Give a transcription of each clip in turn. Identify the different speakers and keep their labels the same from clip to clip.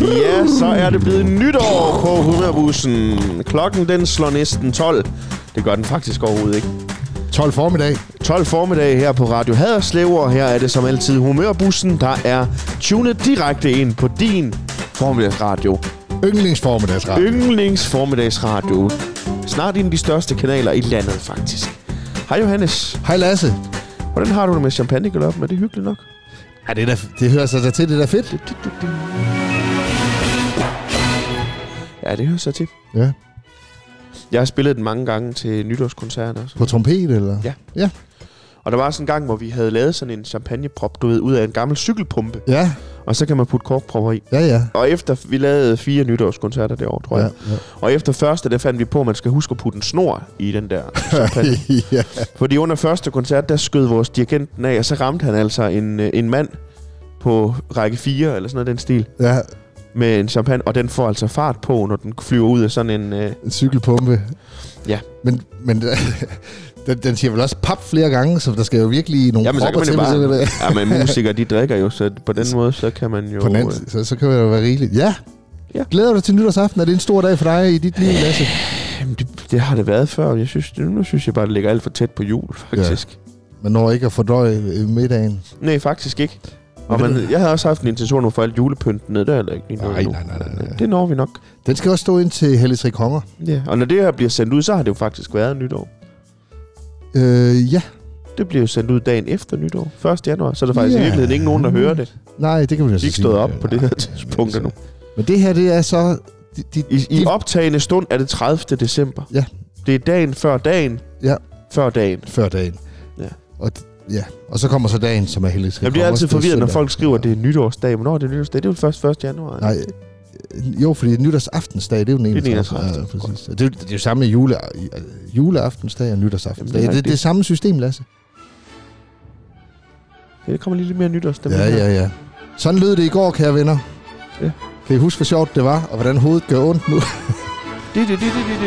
Speaker 1: Ja, så er det blevet nytår på 100-bussen. Klokken den slår næsten 12. Det gør den faktisk overhovedet ikke.
Speaker 2: 12 formiddag.
Speaker 1: 12 formiddag her på Radio Haderslev, og her er det som altid humørbussen, der er tunet direkte ind på din formiddagsradio.
Speaker 2: Yndlingsformiddagsret.
Speaker 1: Yndlings formiddagsradio. Snart en af de største kanaler i landet, faktisk. Hej Johannes.
Speaker 2: Hej Lasse.
Speaker 1: Hvordan har du det med champagnegaloppen? Er det hyggeligt nok?
Speaker 2: Ja, det, der, det hører sig da til, det er da fedt.
Speaker 1: Ja, det hører sig til.
Speaker 2: Ja.
Speaker 1: Jeg har spillet den mange gange til nytårskoncerter også.
Speaker 2: På trompet, eller?
Speaker 1: Ja.
Speaker 2: Ja.
Speaker 1: Og der var sådan en gang, hvor vi havde lavet sådan en champagneprop, du ved, ud af en gammel cykelpumpe.
Speaker 2: Ja,
Speaker 1: Og så kan man putte korkpropper i.
Speaker 2: ja, ja.
Speaker 1: Og efter, vi lavede fire nytårskoncerter det år, tror
Speaker 2: Ja,
Speaker 1: jeg. Og efter første, der fandt vi på, at man skal huske at putte en snor i den der champagne.
Speaker 2: ja.
Speaker 1: Fordi under første koncert, der skød vores dirigenten af, og så ramte han altså en, øh, en mand på række 4, eller sådan noget, den stil,
Speaker 2: ja.
Speaker 1: med en champagne. Og den får altså fart på, når den flyver ud af sådan en... Øh,
Speaker 2: En cykelpumpe.
Speaker 1: Ja.
Speaker 2: Men, men den, den siger vel også pap flere gange, så der skal jo virkelig nogle
Speaker 1: Jamen, så kan
Speaker 2: propper
Speaker 1: man jo
Speaker 2: til, hvis
Speaker 1: bare...
Speaker 2: det
Speaker 1: Ja, men musikere, de drikker jo, så på den måde, så kan man jo...
Speaker 2: På den
Speaker 1: øh,
Speaker 2: anden, så, så kan det jo være rigeligt. Ja.
Speaker 1: Ja.
Speaker 2: ja. Glæder du dig til nytårsaften? Er det en stor dag for dig i dit liv, Lasse?
Speaker 1: Jamen, det, det har det været før, og jeg synes, det, nu synes jeg bare, det ligger alt for tæt på jul, faktisk. Ja.
Speaker 2: Man når ikke at fordøje øh, middagen.
Speaker 1: Nej, faktisk ikke. Og man, jeg havde også haft en intention om at få alt julepynten ned, der er heller ikke lige noget
Speaker 2: Nej,
Speaker 1: endnu.
Speaker 2: nej, nej, nej, nej.
Speaker 1: Det når vi nok.
Speaker 2: Den skal også stå ind til Hellig Tre Konger.
Speaker 1: Ja. Og når det her bliver sendt ud, så har det jo faktisk været nytår.
Speaker 2: Øh, ja.
Speaker 1: Det bliver jo sendt ud dagen efter nytår, 1. januar, så er der faktisk
Speaker 2: Ja.
Speaker 1: i virkeligheden ikke nogen, der hører det.
Speaker 2: Nej, det kan vi jo
Speaker 1: De er
Speaker 2: så
Speaker 1: ikke
Speaker 2: sige.
Speaker 1: stået op på det her
Speaker 2: Nej,
Speaker 1: tidspunkt
Speaker 2: men
Speaker 1: endnu.
Speaker 2: altså- Men det her, det er så... De, de,
Speaker 1: I, I optagende stund er det 30. december.
Speaker 2: Ja.
Speaker 1: Det er dagen før dagen.
Speaker 2: Ja.
Speaker 1: Før dagen.
Speaker 2: før dagen.
Speaker 1: Ja.
Speaker 2: Og, d- ja. og så kommer så dagen, som er hellig.
Speaker 1: Jeg bliver altid forvirret, når folk skriver, at det er nytårsdag. Hvornår er det nytårsdag? Det er jo først 1. januar.
Speaker 2: Nej, øh, jo, fordi nytårsaftensdag, det er jo den
Speaker 1: er den
Speaker 2: 31.
Speaker 1: 31.,
Speaker 2: Ja, præcis. Og Det, er jo- det er jo samme med jule, øh, juleaftensdag og nytårsaftensdag.
Speaker 1: Jamen, det er
Speaker 2: det, det, det er
Speaker 1: rigtigt.
Speaker 2: samme system, Lasse.
Speaker 1: Ja, Der kommer lige lidt mere nytårsstemning.
Speaker 2: Ja,
Speaker 1: her.
Speaker 2: ja, ja. Sådan lød det i går, kære venner.
Speaker 1: Ja.
Speaker 2: Kan I huske, hvor sjovt det var, og hvordan hovedet gør ondt nu?
Speaker 1: Det, det, det, det,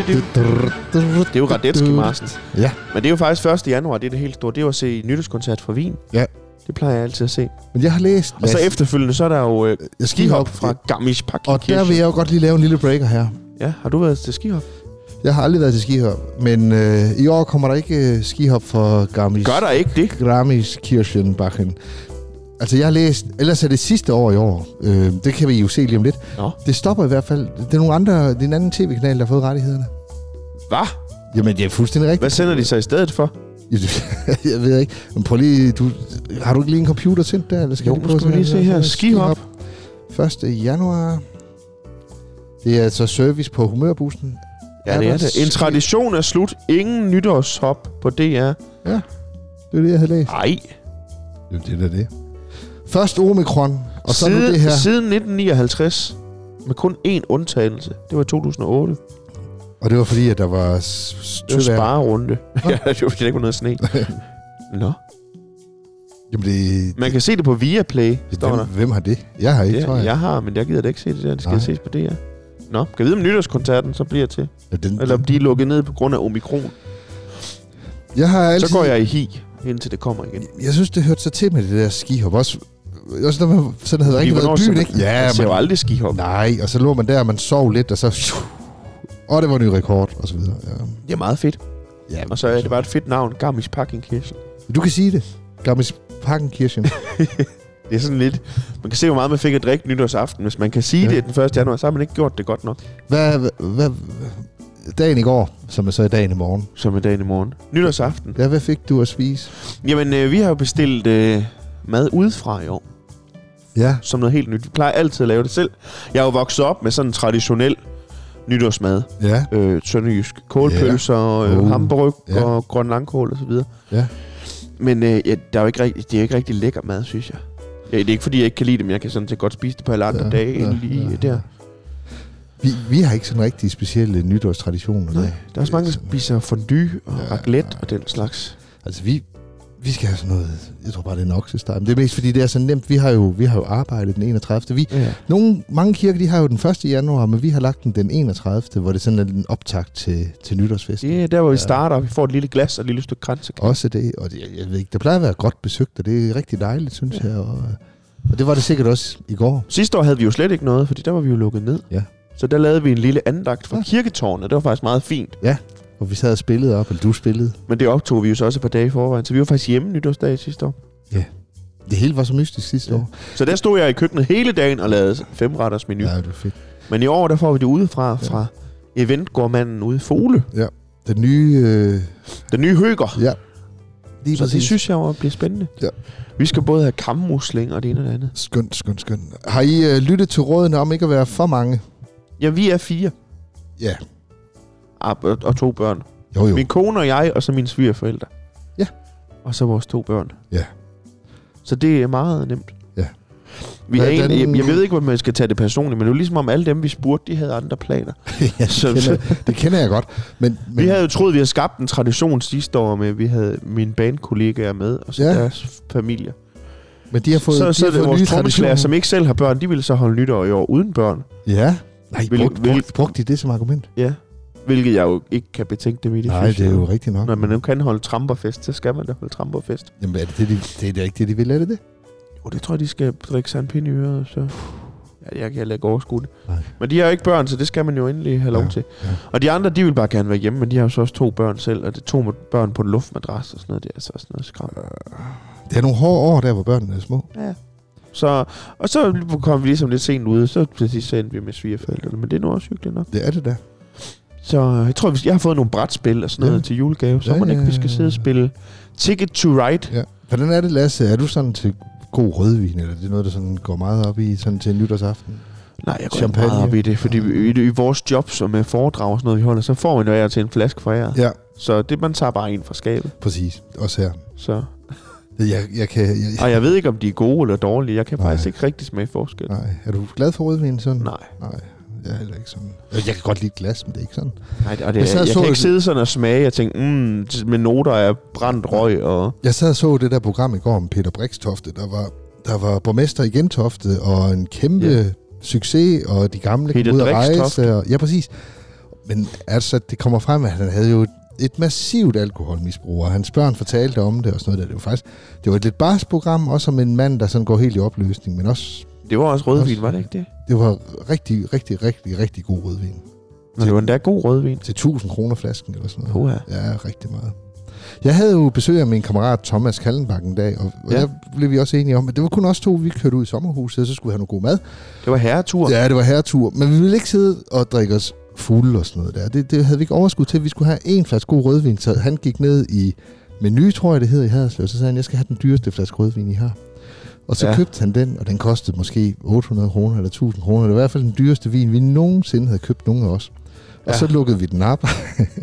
Speaker 1: det, det, det. Det er jo Radetzky Marsen.
Speaker 2: Ja.
Speaker 1: Men det er jo faktisk 1. januar, det er det helt store. Det er jo at se nytårskoncert fra Wien.
Speaker 2: Ja.
Speaker 1: Det plejer jeg altid at se.
Speaker 2: Men jeg har læst...
Speaker 1: Og så efterfølgende, så er der jo øh,
Speaker 2: jeg
Speaker 1: skihop fra Garmisch
Speaker 2: Og der vil
Speaker 1: Partenkirchen.
Speaker 2: jeg jo godt lige lave en lille breaker her.
Speaker 1: Ja, har du været til skihop?
Speaker 2: Jeg har aldrig været til skihop, men øh, i år kommer der ikke øh, skihop for Garmisch.
Speaker 1: Gør der ikke det?
Speaker 2: Gramis Kirchenbachen. Altså, jeg har læst... Ellers er det sidste år i år. Øh, det kan vi jo se lige om lidt.
Speaker 1: Nå.
Speaker 2: Det stopper i hvert fald. Det er nogle andre... Det er en anden tv-kanal, der har fået rettighederne.
Speaker 1: Hvad?
Speaker 2: Jamen, det er fuldstændig rigtigt.
Speaker 1: Hvad sender de så i stedet for?
Speaker 2: jeg ved ikke. Men prøv lige... Du, har du ikke lige en computer tændt der? Eller skal
Speaker 1: Jo,
Speaker 2: jeg
Speaker 1: nu skal vi
Speaker 2: sådan
Speaker 1: lige se her. Skihop.
Speaker 2: 1. januar. Det er altså service på humørbussen.
Speaker 1: Ja, det er det. En tradition er slut. Ingen nytårshop på DR.
Speaker 2: Det er det, jeg havde læst.
Speaker 1: Nej.
Speaker 2: Jamen, det er da det. Først omikron, og så nu
Speaker 1: Siden-
Speaker 2: det her.
Speaker 1: Siden 1959. Med kun én undtagelse. Det var i 2008. Det
Speaker 2: Og det var fordi, at der var s- s-
Speaker 1: var
Speaker 2: tøvejr.
Speaker 1: sparerunde. ja, det var fordi, der ikke var noget sne. Nå.
Speaker 2: Jamen, det,
Speaker 1: Man kan se det på Viaplay, står der.
Speaker 2: hvem, hvem har det? Jeg har ikke, tror
Speaker 1: Ja,
Speaker 2: jeg.
Speaker 1: jeg har, men jeg gider da ikke se det der. Det skal
Speaker 2: Nej.
Speaker 1: Nej. ses på det her. Nå, kan vi vide, om nytårskoncerten så bliver til?
Speaker 2: Ja. Den,
Speaker 1: Eller om de er lukket ned på grund af omikron?
Speaker 2: jeg har altid,
Speaker 1: Så går jeg i hi, indtil det kommer igen.
Speaker 2: Jeg synes, det hørte sig til med det der skihop. Også, også når man sådan havde rigtig
Speaker 1: Fordi
Speaker 2: været i
Speaker 1: hvornår
Speaker 2: byen,
Speaker 1: så-
Speaker 2: ikke? Ja,
Speaker 1: Jeg ser jo aldrig skihop.
Speaker 2: Nej, og så lå man der, og man sov lidt, og så... Og det var en ny rekord, og så videre. Ja.
Speaker 1: Det er meget fedt.
Speaker 2: Ja,
Speaker 1: Og så er det bare et fedt navn. Garmisch Partenkirchen.
Speaker 2: Du kan sige det. Gammis Parkenkirchen.
Speaker 1: Det er sådan lidt... Man kan se, hvor meget man fik at drikke nytårsaften. Hvis man kan sige
Speaker 2: Ja.
Speaker 1: ja. det den 1. januar, så har man ikke gjort det godt nok.
Speaker 2: Hvad, hvad, hvad, dagen i går, som er så i dagen i morgen.
Speaker 1: Som i dagen i morgen. Nytårsaften.
Speaker 2: Ja, hvad fik du at spise?
Speaker 1: Jamen, øh, vi har jo bestilt øh, mad udefra i år.
Speaker 2: Ja,
Speaker 1: Som noget helt nyt. Vi plejer altid at lave det selv. Jeg er jo vokset op med sådan en traditionel nytårsmad.
Speaker 2: ja.
Speaker 1: øh, sønderjysk. Kålpølser,
Speaker 2: Ja.
Speaker 1: yeah. øh,
Speaker 2: Uh.
Speaker 1: hamburg
Speaker 2: Ja.
Speaker 1: yeah. og grøn langkål og så videre.
Speaker 2: Ja.
Speaker 1: Men øh, ja, der er jo ikke rigtig, det er jo ikke rigtig lækker mad, synes jeg. Ja, det er ikke fordi, jeg ikke kan lide det, men jeg kan sådan set godt spise det på alle andre
Speaker 2: Ja,
Speaker 1: ja, dage
Speaker 2: ja,
Speaker 1: ja, end lige
Speaker 2: ja.
Speaker 1: ja, der.
Speaker 2: Vi, vi har ikke sådan rigtig specielle nytårstraditioner.
Speaker 1: Nej,
Speaker 2: der.
Speaker 1: der er også mange, der
Speaker 2: sådan-
Speaker 1: spiser fondue og
Speaker 2: Ja,
Speaker 1: ja, raclette
Speaker 2: ja.
Speaker 1: og den slags.
Speaker 2: Altså, vi, vi skal have sådan noget... Jeg tror bare, det er en oksesteg. Men det er mest, fordi det er så nemt. Vi har jo, vi har jo arbejdet den 31. Vi,
Speaker 1: Ja.
Speaker 2: nogle, mange kirker, de har jo den 1. januar, men vi har lagt den den 31., hvor det sådan er en optakt til, til nytårsfesten.
Speaker 1: Det er der, hvor vi
Speaker 2: Ja.
Speaker 1: starter, og vi får et lille glas og et lille stykke kransekage.
Speaker 2: Også det, og det, jeg ved ikke, det plejer at være godt besøgt, og det er rigtig dejligt, synes ja. jeg. Og, øh, Og det var det sikkert også i går.
Speaker 1: Sidste år havde vi jo slet ikke noget, fordi der var vi jo lukket ned.
Speaker 2: Ja.
Speaker 1: Så der lavede vi en lille andagt fra
Speaker 2: Ja.
Speaker 1: kirketårnet. Det var faktisk meget fint.
Speaker 2: Hvor vi sad og spillede op, eller du spillede.
Speaker 1: Men det optog vi jo så også et par dage i forvejen. Så vi var faktisk hjemme nytårsdag sidste år.
Speaker 2: Det hele var så mystisk sidste
Speaker 1: Ja.
Speaker 2: år.
Speaker 1: Så der stod jeg i køkkenet hele dagen og lavede femretters menu. Ja.
Speaker 2: Ja, det var fedt.
Speaker 1: Men i år, der får vi det udefra, fra eventgårdmanden ude i Fole.
Speaker 2: Den nye... Øh,
Speaker 1: Den nye høger.
Speaker 2: ja. Lige
Speaker 1: Så det
Speaker 2: præcis.
Speaker 1: synes jeg jo bliver spændende.
Speaker 2: Ja.
Speaker 1: Vi skal både have kammusling og det ene og det andet.
Speaker 2: Skønt, skønt, skønt. Har I øh, lyttet til rådene om ikke at være for mange?
Speaker 1: Ja, vi er fire.
Speaker 2: Ja.
Speaker 1: Ah, og- Og to børn.
Speaker 2: Jo, jo.
Speaker 1: Min kone og jeg, og så mine svigerforældre.
Speaker 2: Ja.
Speaker 1: Og så vores to børn.
Speaker 2: Ja.
Speaker 1: Så det er meget nemt.
Speaker 2: Ja.
Speaker 1: Vi har
Speaker 2: Hvordan-
Speaker 1: egentlig, jeg, jeg ved ikke, hvordan man skal tage det personligt, men det er jo ligesom om alle dem, vi spurgte, de havde andre planer.
Speaker 2: ja,
Speaker 1: Så-
Speaker 2: det, kender, det kender jeg godt. Men, men
Speaker 1: Men... Vi havde jo troet, vi havde skabt en tradition sidste år med, at vi havde mine bandkollegaer med, og så ja.
Speaker 2: Ja.
Speaker 1: deres familier.
Speaker 2: Men de har fået,
Speaker 1: så
Speaker 2: de
Speaker 1: så
Speaker 2: har
Speaker 1: er det
Speaker 2: fået
Speaker 1: vores trommeslager,
Speaker 2: traditioner.
Speaker 1: som ikke selv har børn, de ville så holde nytår i år uden børn.
Speaker 2: Ja. Nej,
Speaker 1: Vil-
Speaker 2: brugte,
Speaker 1: vil-
Speaker 2: brugte, brugte de det som argument?
Speaker 1: Ja. Hvilket jeg jo ikke kan betænke dem i. Det
Speaker 2: Nej,
Speaker 1: synes
Speaker 2: det er
Speaker 1: jeg
Speaker 2: jo rigtigt nok.
Speaker 1: Når man nu kan holde tramperfest, så skal man da holde tramperfest.
Speaker 2: Jamen, er det, det, de, det er da ikke det, de vil, er det det?
Speaker 1: Jo, det tror jeg, de skal drikke sandpinde i øret, og så... Ja, jeg kan heller ikke overskue det.
Speaker 2: Nej.
Speaker 1: Men de har jo ikke børn, så det skal man jo endelig have lov
Speaker 2: Ja,
Speaker 1: til.
Speaker 2: ja.
Speaker 1: Og de andre, de vil bare gerne være hjemme, men de har jo så også to børn selv, og det er to med- børn på en luftmadras og sådan noget. Det er altså også noget skræmt.
Speaker 2: Det er nogle hårde år, der hvor børnene er små.
Speaker 1: Ja. Så, og så kom vi ligesom lidt sent ude, så til sidst så endte vi med svigerforældrene, men det er nu også hyggeligt nok.
Speaker 2: Det er det der.
Speaker 1: Så øh, jeg tror, hvis jeg har fået nogle brætspil og sådan noget
Speaker 2: Ja.
Speaker 1: til julegave, så
Speaker 2: Ja,
Speaker 1: må det
Speaker 2: ja,
Speaker 1: ikke, vi
Speaker 2: ja,
Speaker 1: skal
Speaker 2: ja.
Speaker 1: sidde og spille Ticket to Ride.
Speaker 2: Ja. Hvordan er det, Lasse? Er du sådan til god rødvin, eller er det noget, der sådan går meget op i sådan til nytårsaften?
Speaker 1: Nej, jeg går ikke
Speaker 2: Champagne.
Speaker 1: meget op i det, fordi vi, i, i vores job som med foredrag og sådan noget, vi holder, så får man jo af til en flaske fra jer.
Speaker 2: Ja,
Speaker 1: Så det, man tager bare en fra skabet.
Speaker 2: præcis. Også her.
Speaker 1: Så.
Speaker 2: Jeg, jeg kan... Jeg, jeg,
Speaker 1: Og jeg ved ikke, om de er gode eller dårlige. Jeg kan
Speaker 2: Nej. Mm.
Speaker 1: faktisk ikke rigtig smage forskel.
Speaker 2: nej. Er du glad for rødvin sådan?
Speaker 1: Nej,
Speaker 2: Nej, jeg er heller ikke sådan. Jeg kan godt lide et glas, men det er ikke sådan.
Speaker 1: Nej og det,
Speaker 2: Jeg
Speaker 1: jeg,
Speaker 2: sad
Speaker 1: jeg,
Speaker 2: og så
Speaker 1: kan
Speaker 2: et-
Speaker 1: ikke sidde sådan og smage og tænke, mm, t- med noter af brændt røg og...
Speaker 2: Jeg sad og så det der program i går om Peter Brikstofte, der var, der var borgmester i Gentofte, og en kæmpe
Speaker 1: Ja.
Speaker 2: yeah. succes, og de gamle
Speaker 1: Peter
Speaker 2: kom ud at
Speaker 1: Brixtofte.
Speaker 2: rejse. Og, ja, præcis. Men altså, det kommer frem, at han havde jo et, et massivt alkoholmisbrug, og hans børn fortalte om det og sådan noget der. Det var faktisk det var et lidt barsk program, også om en mand, der sådan går helt i opløsning, men også,
Speaker 1: Det var også rødvin,
Speaker 2: Også-
Speaker 1: var det ikke det?
Speaker 2: det var rigtig, rigtig, rigtig, rigtig god rødvin.
Speaker 1: Men det var endda god rødvin.
Speaker 2: Til 1000 kroner flasken eller sådan noget.
Speaker 1: Puha.
Speaker 2: Ja, rigtig meget. Jeg havde jo besøg af min kammerat Thomas Kallenbakken en dag, og, og
Speaker 1: Ja.
Speaker 2: ja. der blev vi også enige om, at det var kun os to, vi kørte ud i sommerhuset, og så skulle vi have noget god mad.
Speaker 1: Det var herretur. Ja.
Speaker 2: Ja, det var herretur, men vi ville ikke sidde og drikke os fulde og sådan noget der. Det, det havde vi ikke overskud til. Vi skulle have en flaske god rødvin, så han gik ned i menu, tror jeg det hedder i Haderslev, så sagde han, jeg skal have den dyreste flaske rødvin, I har. Og så
Speaker 1: Ja.
Speaker 2: ja. købte han den, og den kostede måske 800 kroner eller 1000 kroner. Det var i hvert fald den dyreste vin, vi nogensinde havde købt nogen af os. Og
Speaker 1: Ja.
Speaker 2: ja. så lukkede vi den op,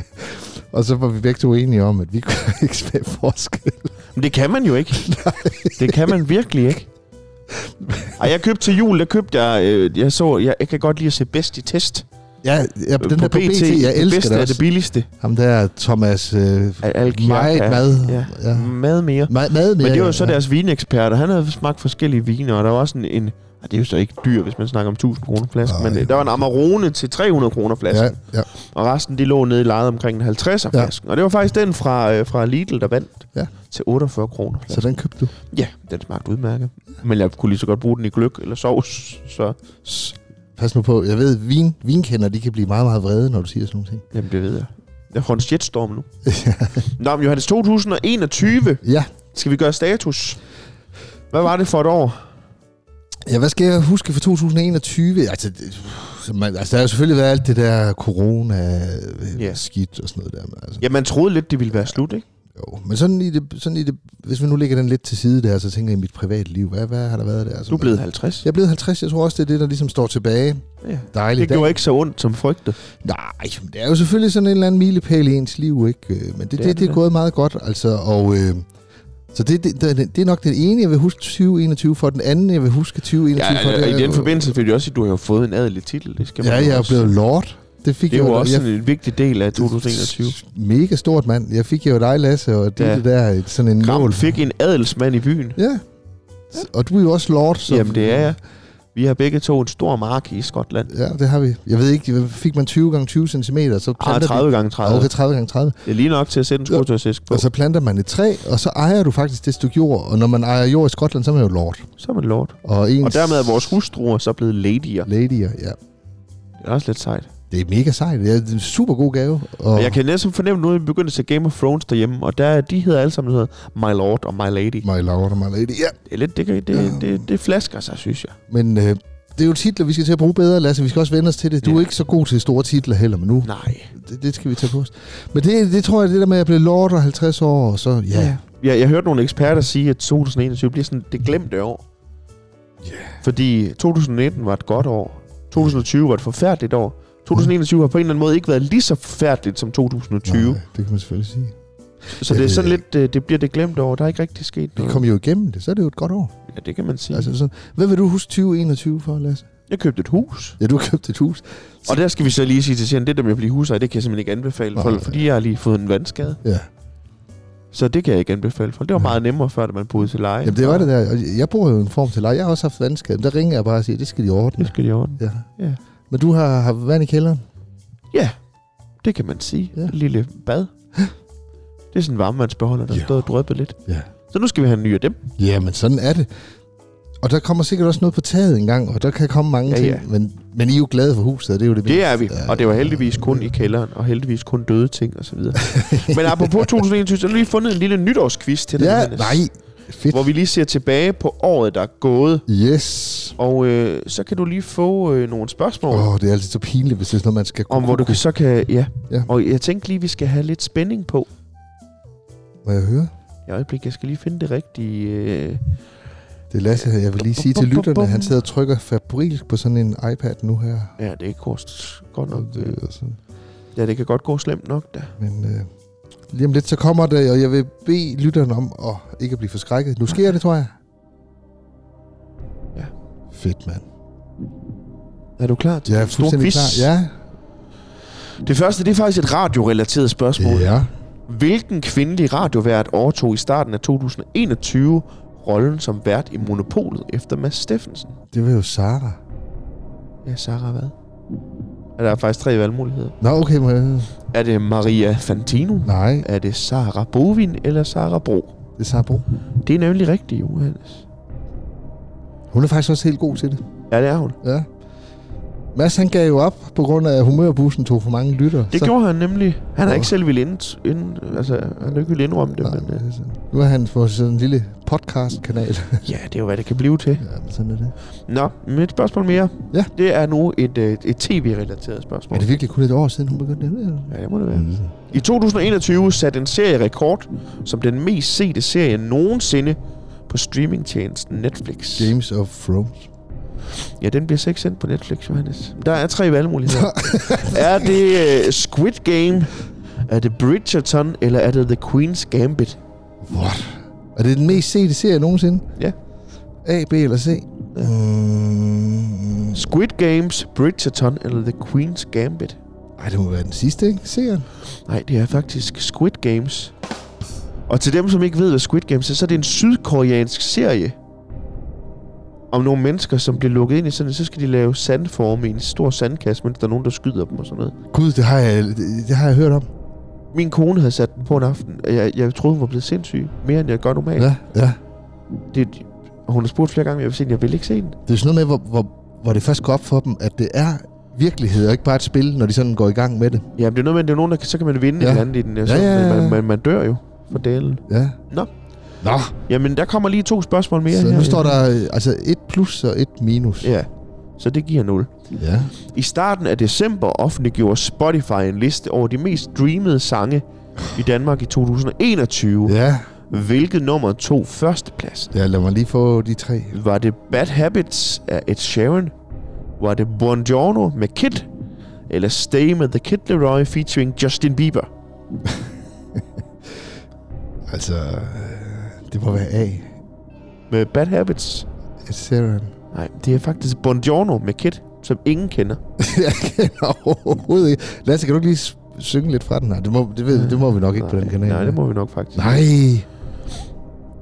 Speaker 2: og så var vi begge to enige om, at vi kunne ikke smage forskel.
Speaker 1: Men det kan man jo ikke. det kan man virkelig ikke. Ej, jeg købte til jul, der købte jeg, øh, jeg så, jeg, jeg kan godt lide at se bedst i test.
Speaker 2: Ja, ja den der på BT, jeg
Speaker 1: det
Speaker 2: elsker
Speaker 1: bedste
Speaker 2: det
Speaker 1: er det
Speaker 2: også.
Speaker 1: billigste.
Speaker 2: Ham der Thomas, øh,
Speaker 1: Al- Alkirk
Speaker 2: meget
Speaker 1: er-
Speaker 2: mad.
Speaker 1: ja. Mm.
Speaker 2: ja.
Speaker 1: Mad mere.
Speaker 2: Mad, mad
Speaker 1: Men
Speaker 2: mere,
Speaker 1: det var jo så
Speaker 2: ja.
Speaker 1: deres vinekspert, og han havde smagt forskellige viner, og der var også en... en ah, det er jo så ikke dyr, hvis man snakker om 1000 kroner flaske,
Speaker 2: Nej.
Speaker 1: men øh, der var en Amarone til 300 kroner flasken,
Speaker 2: Ja,
Speaker 1: ja.
Speaker 2: ja.
Speaker 1: og resten de lå nede i lejet omkring en 50'er
Speaker 2: Ja.
Speaker 1: flasken. Og det var faktisk den fra, øh, fra Lidl, der vandt
Speaker 2: Ja.
Speaker 1: til 48 kroner flasken.
Speaker 2: Så den købte du.
Speaker 1: Ja, den smagte udmærket. Men jeg kunne lige så godt bruge den i gløk eller sovs, så
Speaker 2: Pas nu på. Jeg ved, vin, vinkender, de kan blive meget, meget vrede, når du siger sådan nogle ting.
Speaker 1: jamen, det ved jeg. Jeg får en shitstorm nu. Nå, men Johannes, 2021.
Speaker 2: Ja.
Speaker 1: Skal vi gøre status? Hvad var det for et år?
Speaker 2: Ja, hvad skal jeg huske for 2021? Altså, det, man, altså der har jo selvfølgelig været alt det der
Speaker 1: Ja.
Speaker 2: corona-skidt og sådan noget der. Men, altså,
Speaker 1: Ja, man troede lidt, det ville være slut, ikke?
Speaker 2: jo. men sådan, i det, sådan i det, hvis vi nu lægger den lidt til side der, så tænker jeg i mit private liv, hvad, hvad har der været der? Altså,
Speaker 1: Du er blevet 50.
Speaker 2: Jeg er blevet 50, jeg tror også, det er det, der ligesom står tilbage.
Speaker 1: Ja.
Speaker 2: Dejligt.
Speaker 1: Det gjorde ikke så ondt som frygtet.
Speaker 2: Nej, men det er jo selvfølgelig sådan en eller anden milepæl i ens liv, ikke? Øh, Men det, det,
Speaker 1: er det
Speaker 2: det, det er
Speaker 1: da.
Speaker 2: gået meget godt, altså, og... Øh, så det, det, det, det er nok den ene, jeg vil huske 2021 for, den anden, jeg vil huske 2021
Speaker 1: Ja,
Speaker 2: for.
Speaker 1: og
Speaker 2: er
Speaker 1: i den
Speaker 2: jo-
Speaker 1: forbindelse vil jeg også sige, at du har jo fået en adelig titel. Det skal man
Speaker 2: Ja,
Speaker 1: jo
Speaker 2: jeg er
Speaker 1: også-
Speaker 2: blevet lord. Det fik
Speaker 1: Det er
Speaker 2: jeg
Speaker 1: jo også
Speaker 2: jeg,
Speaker 1: en en vigtig del af 2021.
Speaker 2: Mega stort, mand. Jeg fik jo dig, Lasse, og det
Speaker 1: Ja.
Speaker 2: ja. der et- sådan en
Speaker 1: Kram
Speaker 2: nål.
Speaker 1: fik en adelsmand i byen.
Speaker 2: Ja. Og du er jo også lord. Så
Speaker 1: Jamen, det er jeg. Vi har begge to en stor mark i Skotland.
Speaker 2: Ja, det har vi. Jeg ved ikke, fik man 20 gange 20 cm, så
Speaker 1: Ah,
Speaker 2: planter
Speaker 1: 30 gange
Speaker 2: vi...
Speaker 1: 30.
Speaker 2: Okay, 30 gange 30.
Speaker 1: Det er lige nok til at sætte en skotøjsæsk på.
Speaker 2: Og så planter man et træ, og så ejer du faktisk det stykke jord. Og når man ejer jord i Skotland, så er man jo lord.
Speaker 1: Så er man lort.
Speaker 2: Og, ens
Speaker 1: Og dermed er vores hustruer så blevet ladyer.
Speaker 2: Ladyer, ja.
Speaker 1: Det er også lidt sejt.
Speaker 2: Det er mega sejt. Det er en super god gave. Og
Speaker 1: Og jeg kan næsten fornemme nu, at vi begynder at se Game of Thrones derhjemme, og der, er- de hedder alle sammen hedder My Lord og My Lady.
Speaker 2: My lord og my lady. Ja.
Speaker 1: Det, er lidt, det, det, det, det, det flasker sig, synes jeg.
Speaker 2: Men øh, det er jo titler, vi skal til at bruge bedre, Lasse. Vi skal også vende os til det. Du
Speaker 1: Ja.
Speaker 2: er ikke så god til store titler heller, men nu,
Speaker 1: Nej.
Speaker 2: det, det skal vi tage på os. Men det, det tror jeg, det der med, at jeg blev lord og 50 år, og så, ja. ja.
Speaker 1: Jeg, jeg hørte nogle eksperter sige, at 2021 bliver sådan det glemte år. Yeah. Fordi 2019 var et godt år. 2020 var et forfærdeligt år. 2021 har på en eller anden måde ikke været lige så forfærdeligt som 2020.
Speaker 2: Nej, det kan man selvfølgelig sige.
Speaker 1: Så det er
Speaker 2: Øh.
Speaker 1: sådan lidt, øh, det bliver det glemte år. Der er ikke rigtig sket
Speaker 2: Vi
Speaker 1: noget.
Speaker 2: kom jo igennem det, så er det jo et godt år.
Speaker 1: Ja, det kan man sige.
Speaker 2: Altså, så, hvad vil du huske 2021 for, Lasse?
Speaker 1: Jeg købte et hus.
Speaker 2: Ja, du har købt et hus.
Speaker 1: Og der skal vi så lige sige til serien, det der med at blive husejer, det kan jeg simpelthen ikke anbefale
Speaker 2: Nej.
Speaker 1: folk, fordi jeg har lige fået en vandskade.
Speaker 2: Ja.
Speaker 1: Så det kan jeg ikke anbefale folk. Det var
Speaker 2: Nej.
Speaker 1: meget nemmere før, da man boede til leje.
Speaker 2: Jamen, det var det der. Og Jeg bruger jo en form til leje. Jeg har også haft vandskab. Der ringer jeg bare og siger, det skal de
Speaker 1: Det
Speaker 2: ordne.
Speaker 1: skal de ordne.
Speaker 2: Ja.
Speaker 1: Ja.
Speaker 2: Men du har, har vand i kælderen?
Speaker 1: Det kan man sige.
Speaker 2: Ja.
Speaker 1: Ja. Et lille bad. Det er sådan en varmevandsbeholder, der
Speaker 2: Ja.
Speaker 1: ja. stod og dryppede lidt.
Speaker 2: Ja.
Speaker 1: Så nu skal vi have en ny af dem.
Speaker 2: Ja, men sådan er det. Og der kommer sikkert også noget på taget engang, og der kan komme mange
Speaker 1: Ja,
Speaker 2: ting.
Speaker 1: ja.
Speaker 2: Men, men I er jo glade for huset, og det er jo det
Speaker 1: Det er vi.
Speaker 2: vigtigste.
Speaker 1: Og det var heldigvis kun i kælderen, og heldigvis kun døde ting osv. Men apropos 2021, så har vi lige fundet en lille nytårsquiz til dig,
Speaker 2: Ja,
Speaker 1: Johannes.
Speaker 2: nej. Fedt.
Speaker 1: Hvor vi lige ser tilbage på året, der er gået.
Speaker 2: Yes.
Speaker 1: Og øh, så kan du lige få øh, nogle spørgsmål.
Speaker 2: Åh, oh, det er altid så pinligt, hvis det er noget, man skal...
Speaker 1: Om hvor du kan, så kan... Ja.
Speaker 2: Ja.
Speaker 1: ja. Og jeg tænkte lige, vi skal have lidt spænding på.
Speaker 2: Må jeg høre?
Speaker 1: I øjeblik, jeg skal lige finde det rigtige... Øh,
Speaker 2: Det er Lasse her. Jeg vil lige sige til lytterne, at han sidder og trykker fabrisk på sådan en iPad nu her.
Speaker 1: ja, det er kost godt
Speaker 2: Og
Speaker 1: nok. øh,
Speaker 2: det er sådan.
Speaker 1: Ja, det kan godt gå slemt nok, da.
Speaker 2: Men øh, lige om lidt, så kommer det, og jeg vil bede lytterne om at ikke at blive forskrækket. Nu sker det, tror jeg.
Speaker 1: Ja.
Speaker 2: Fedt, mand.
Speaker 1: Er du klar til
Speaker 2: Jeg er
Speaker 1: den store
Speaker 2: fuldstændig
Speaker 1: quiz?
Speaker 2: klar. Ja.
Speaker 1: Det første, det er faktisk et radiorelateret spørgsmål. Ja.
Speaker 2: Ja.
Speaker 1: Hvilken kvindelig radiovært overtog i starten af 2021 rollen som vært i Monopolet efter Mads Steffensen?
Speaker 2: Det var jo Sara.
Speaker 1: Ja, Sarah hvad? Ja, Der er faktisk tre valgmuligheder.
Speaker 2: Nå, okay. Må jeg...
Speaker 1: Er det Maria Fantino?
Speaker 2: Nej,
Speaker 1: Er det Sarah Bovin eller Sarah Bro?
Speaker 2: det er Sara Bro.
Speaker 1: Det er nemlig rigtigt, Johannes.
Speaker 2: Hun er faktisk også helt god til det.
Speaker 1: Ja, det er hun.
Speaker 2: Ja. Mads, han gav jo op på grund af, at humørbussen tog for mange lytter.
Speaker 1: Det så... gjorde han nemlig. Han har
Speaker 2: Åh.
Speaker 1: ikke selv ville ind, ind, altså, han har ikke ville indrømme det,
Speaker 2: Nej,
Speaker 1: men øh,
Speaker 2: det er sådan. Nu er han på sådan en lille podcast-kanal.
Speaker 1: øh, ja, det er jo, hvad det kan blive til.
Speaker 2: ja, men sådan er det.
Speaker 1: Nå, mit spørgsmål mere.
Speaker 2: Ja.
Speaker 1: Det er nu et, øh, et tv-relateret spørgsmål.
Speaker 2: Er det virkelig kun et Mm. år siden, hun begyndte det? Eller?
Speaker 1: Ja, det må det være. I 2021 satte en serie rekord som den mest sete serie nogensinde på streamingtjenesten Netflix.
Speaker 2: Games of Thrones.
Speaker 1: Ja, den bliver så ikke sendt på Netflix, Johannes. Der er tre valgmuligheder. er det øh, Squid Game, er det Bridgerton, eller er det The Queen's Gambit?
Speaker 2: Mm. What? Er det den mest sete serie nogensinde?
Speaker 1: Ja.
Speaker 2: A, B eller C?
Speaker 1: Ja.
Speaker 2: Mm,
Speaker 1: Squid Games, Bridgerton eller The Queen's Gambit?
Speaker 2: ej, det må være den sidste, ikke? Serien?
Speaker 1: Nej, det er faktisk Squid Games. Og til dem, som ikke ved, hvad Squid Games er, så er det en sydkoreansk serie om nogle mennesker, som bliver lukket ind i sådan, så skal de lave sandforme i en stor sandkasse, mens der er nogen, der skyder dem og sådan noget.
Speaker 2: Gud, det har jeg, det, det har jeg hørt om.
Speaker 1: Min kone havde sat den på en aften, og jeg, jeg troede, hun var blevet sindssyg. Mere end jeg gør normalt. Ja.
Speaker 2: Ja, ja.
Speaker 1: Det, og hun har spurgt flere gange, om jeg vil se den. Jeg vil ikke se den.
Speaker 2: Det er sådan noget med, hvor, hvor, hvor det først går op for dem, at det er virkelighed, og ikke bare et spil, når de sådan går i gang med det.
Speaker 1: Ja, men det er noget med, at det er nogen, der kan, så kan man vinde
Speaker 2: Ja.
Speaker 1: ja. eller andet i den. Ja, så,
Speaker 2: Ja, ja, ja, ja.
Speaker 1: Man, man, man, dør jo for delen.
Speaker 2: Ja.
Speaker 1: Nå.
Speaker 2: Nå,
Speaker 1: Jamen, der kommer lige to spørgsmål mere.
Speaker 2: så
Speaker 1: her.
Speaker 2: nu står der øh, altså et plus og et minus.
Speaker 1: Ja, så det giver 0.
Speaker 2: ja.
Speaker 1: I starten af december offentliggjorde Spotify en liste over de mest streamede sange i Danmark i 2021. Ja.
Speaker 2: Ja,
Speaker 1: Hvilket nummer tog førstepladsen?
Speaker 2: ja lad mig lige få de tre.
Speaker 1: Var det Bad Habits af Ed Sheeran? Var det Buongiorno med Kid? Eller Stay med The Kid Leroy featuring Justin Bieber?
Speaker 2: Altså, øh, det må være A.
Speaker 1: Med Bad Habits?
Speaker 2: Et Serum.
Speaker 1: Nej, det er faktisk Buongiorno med Kid, som ingen kender.
Speaker 2: jeg kender overhovedet ikke. Lasse, kan du ikke lige s- synge lidt fra den her? Det må, det ved, det må vi nok ikke på den kanal.
Speaker 1: Nej, det må vi nok faktisk.
Speaker 2: Nej,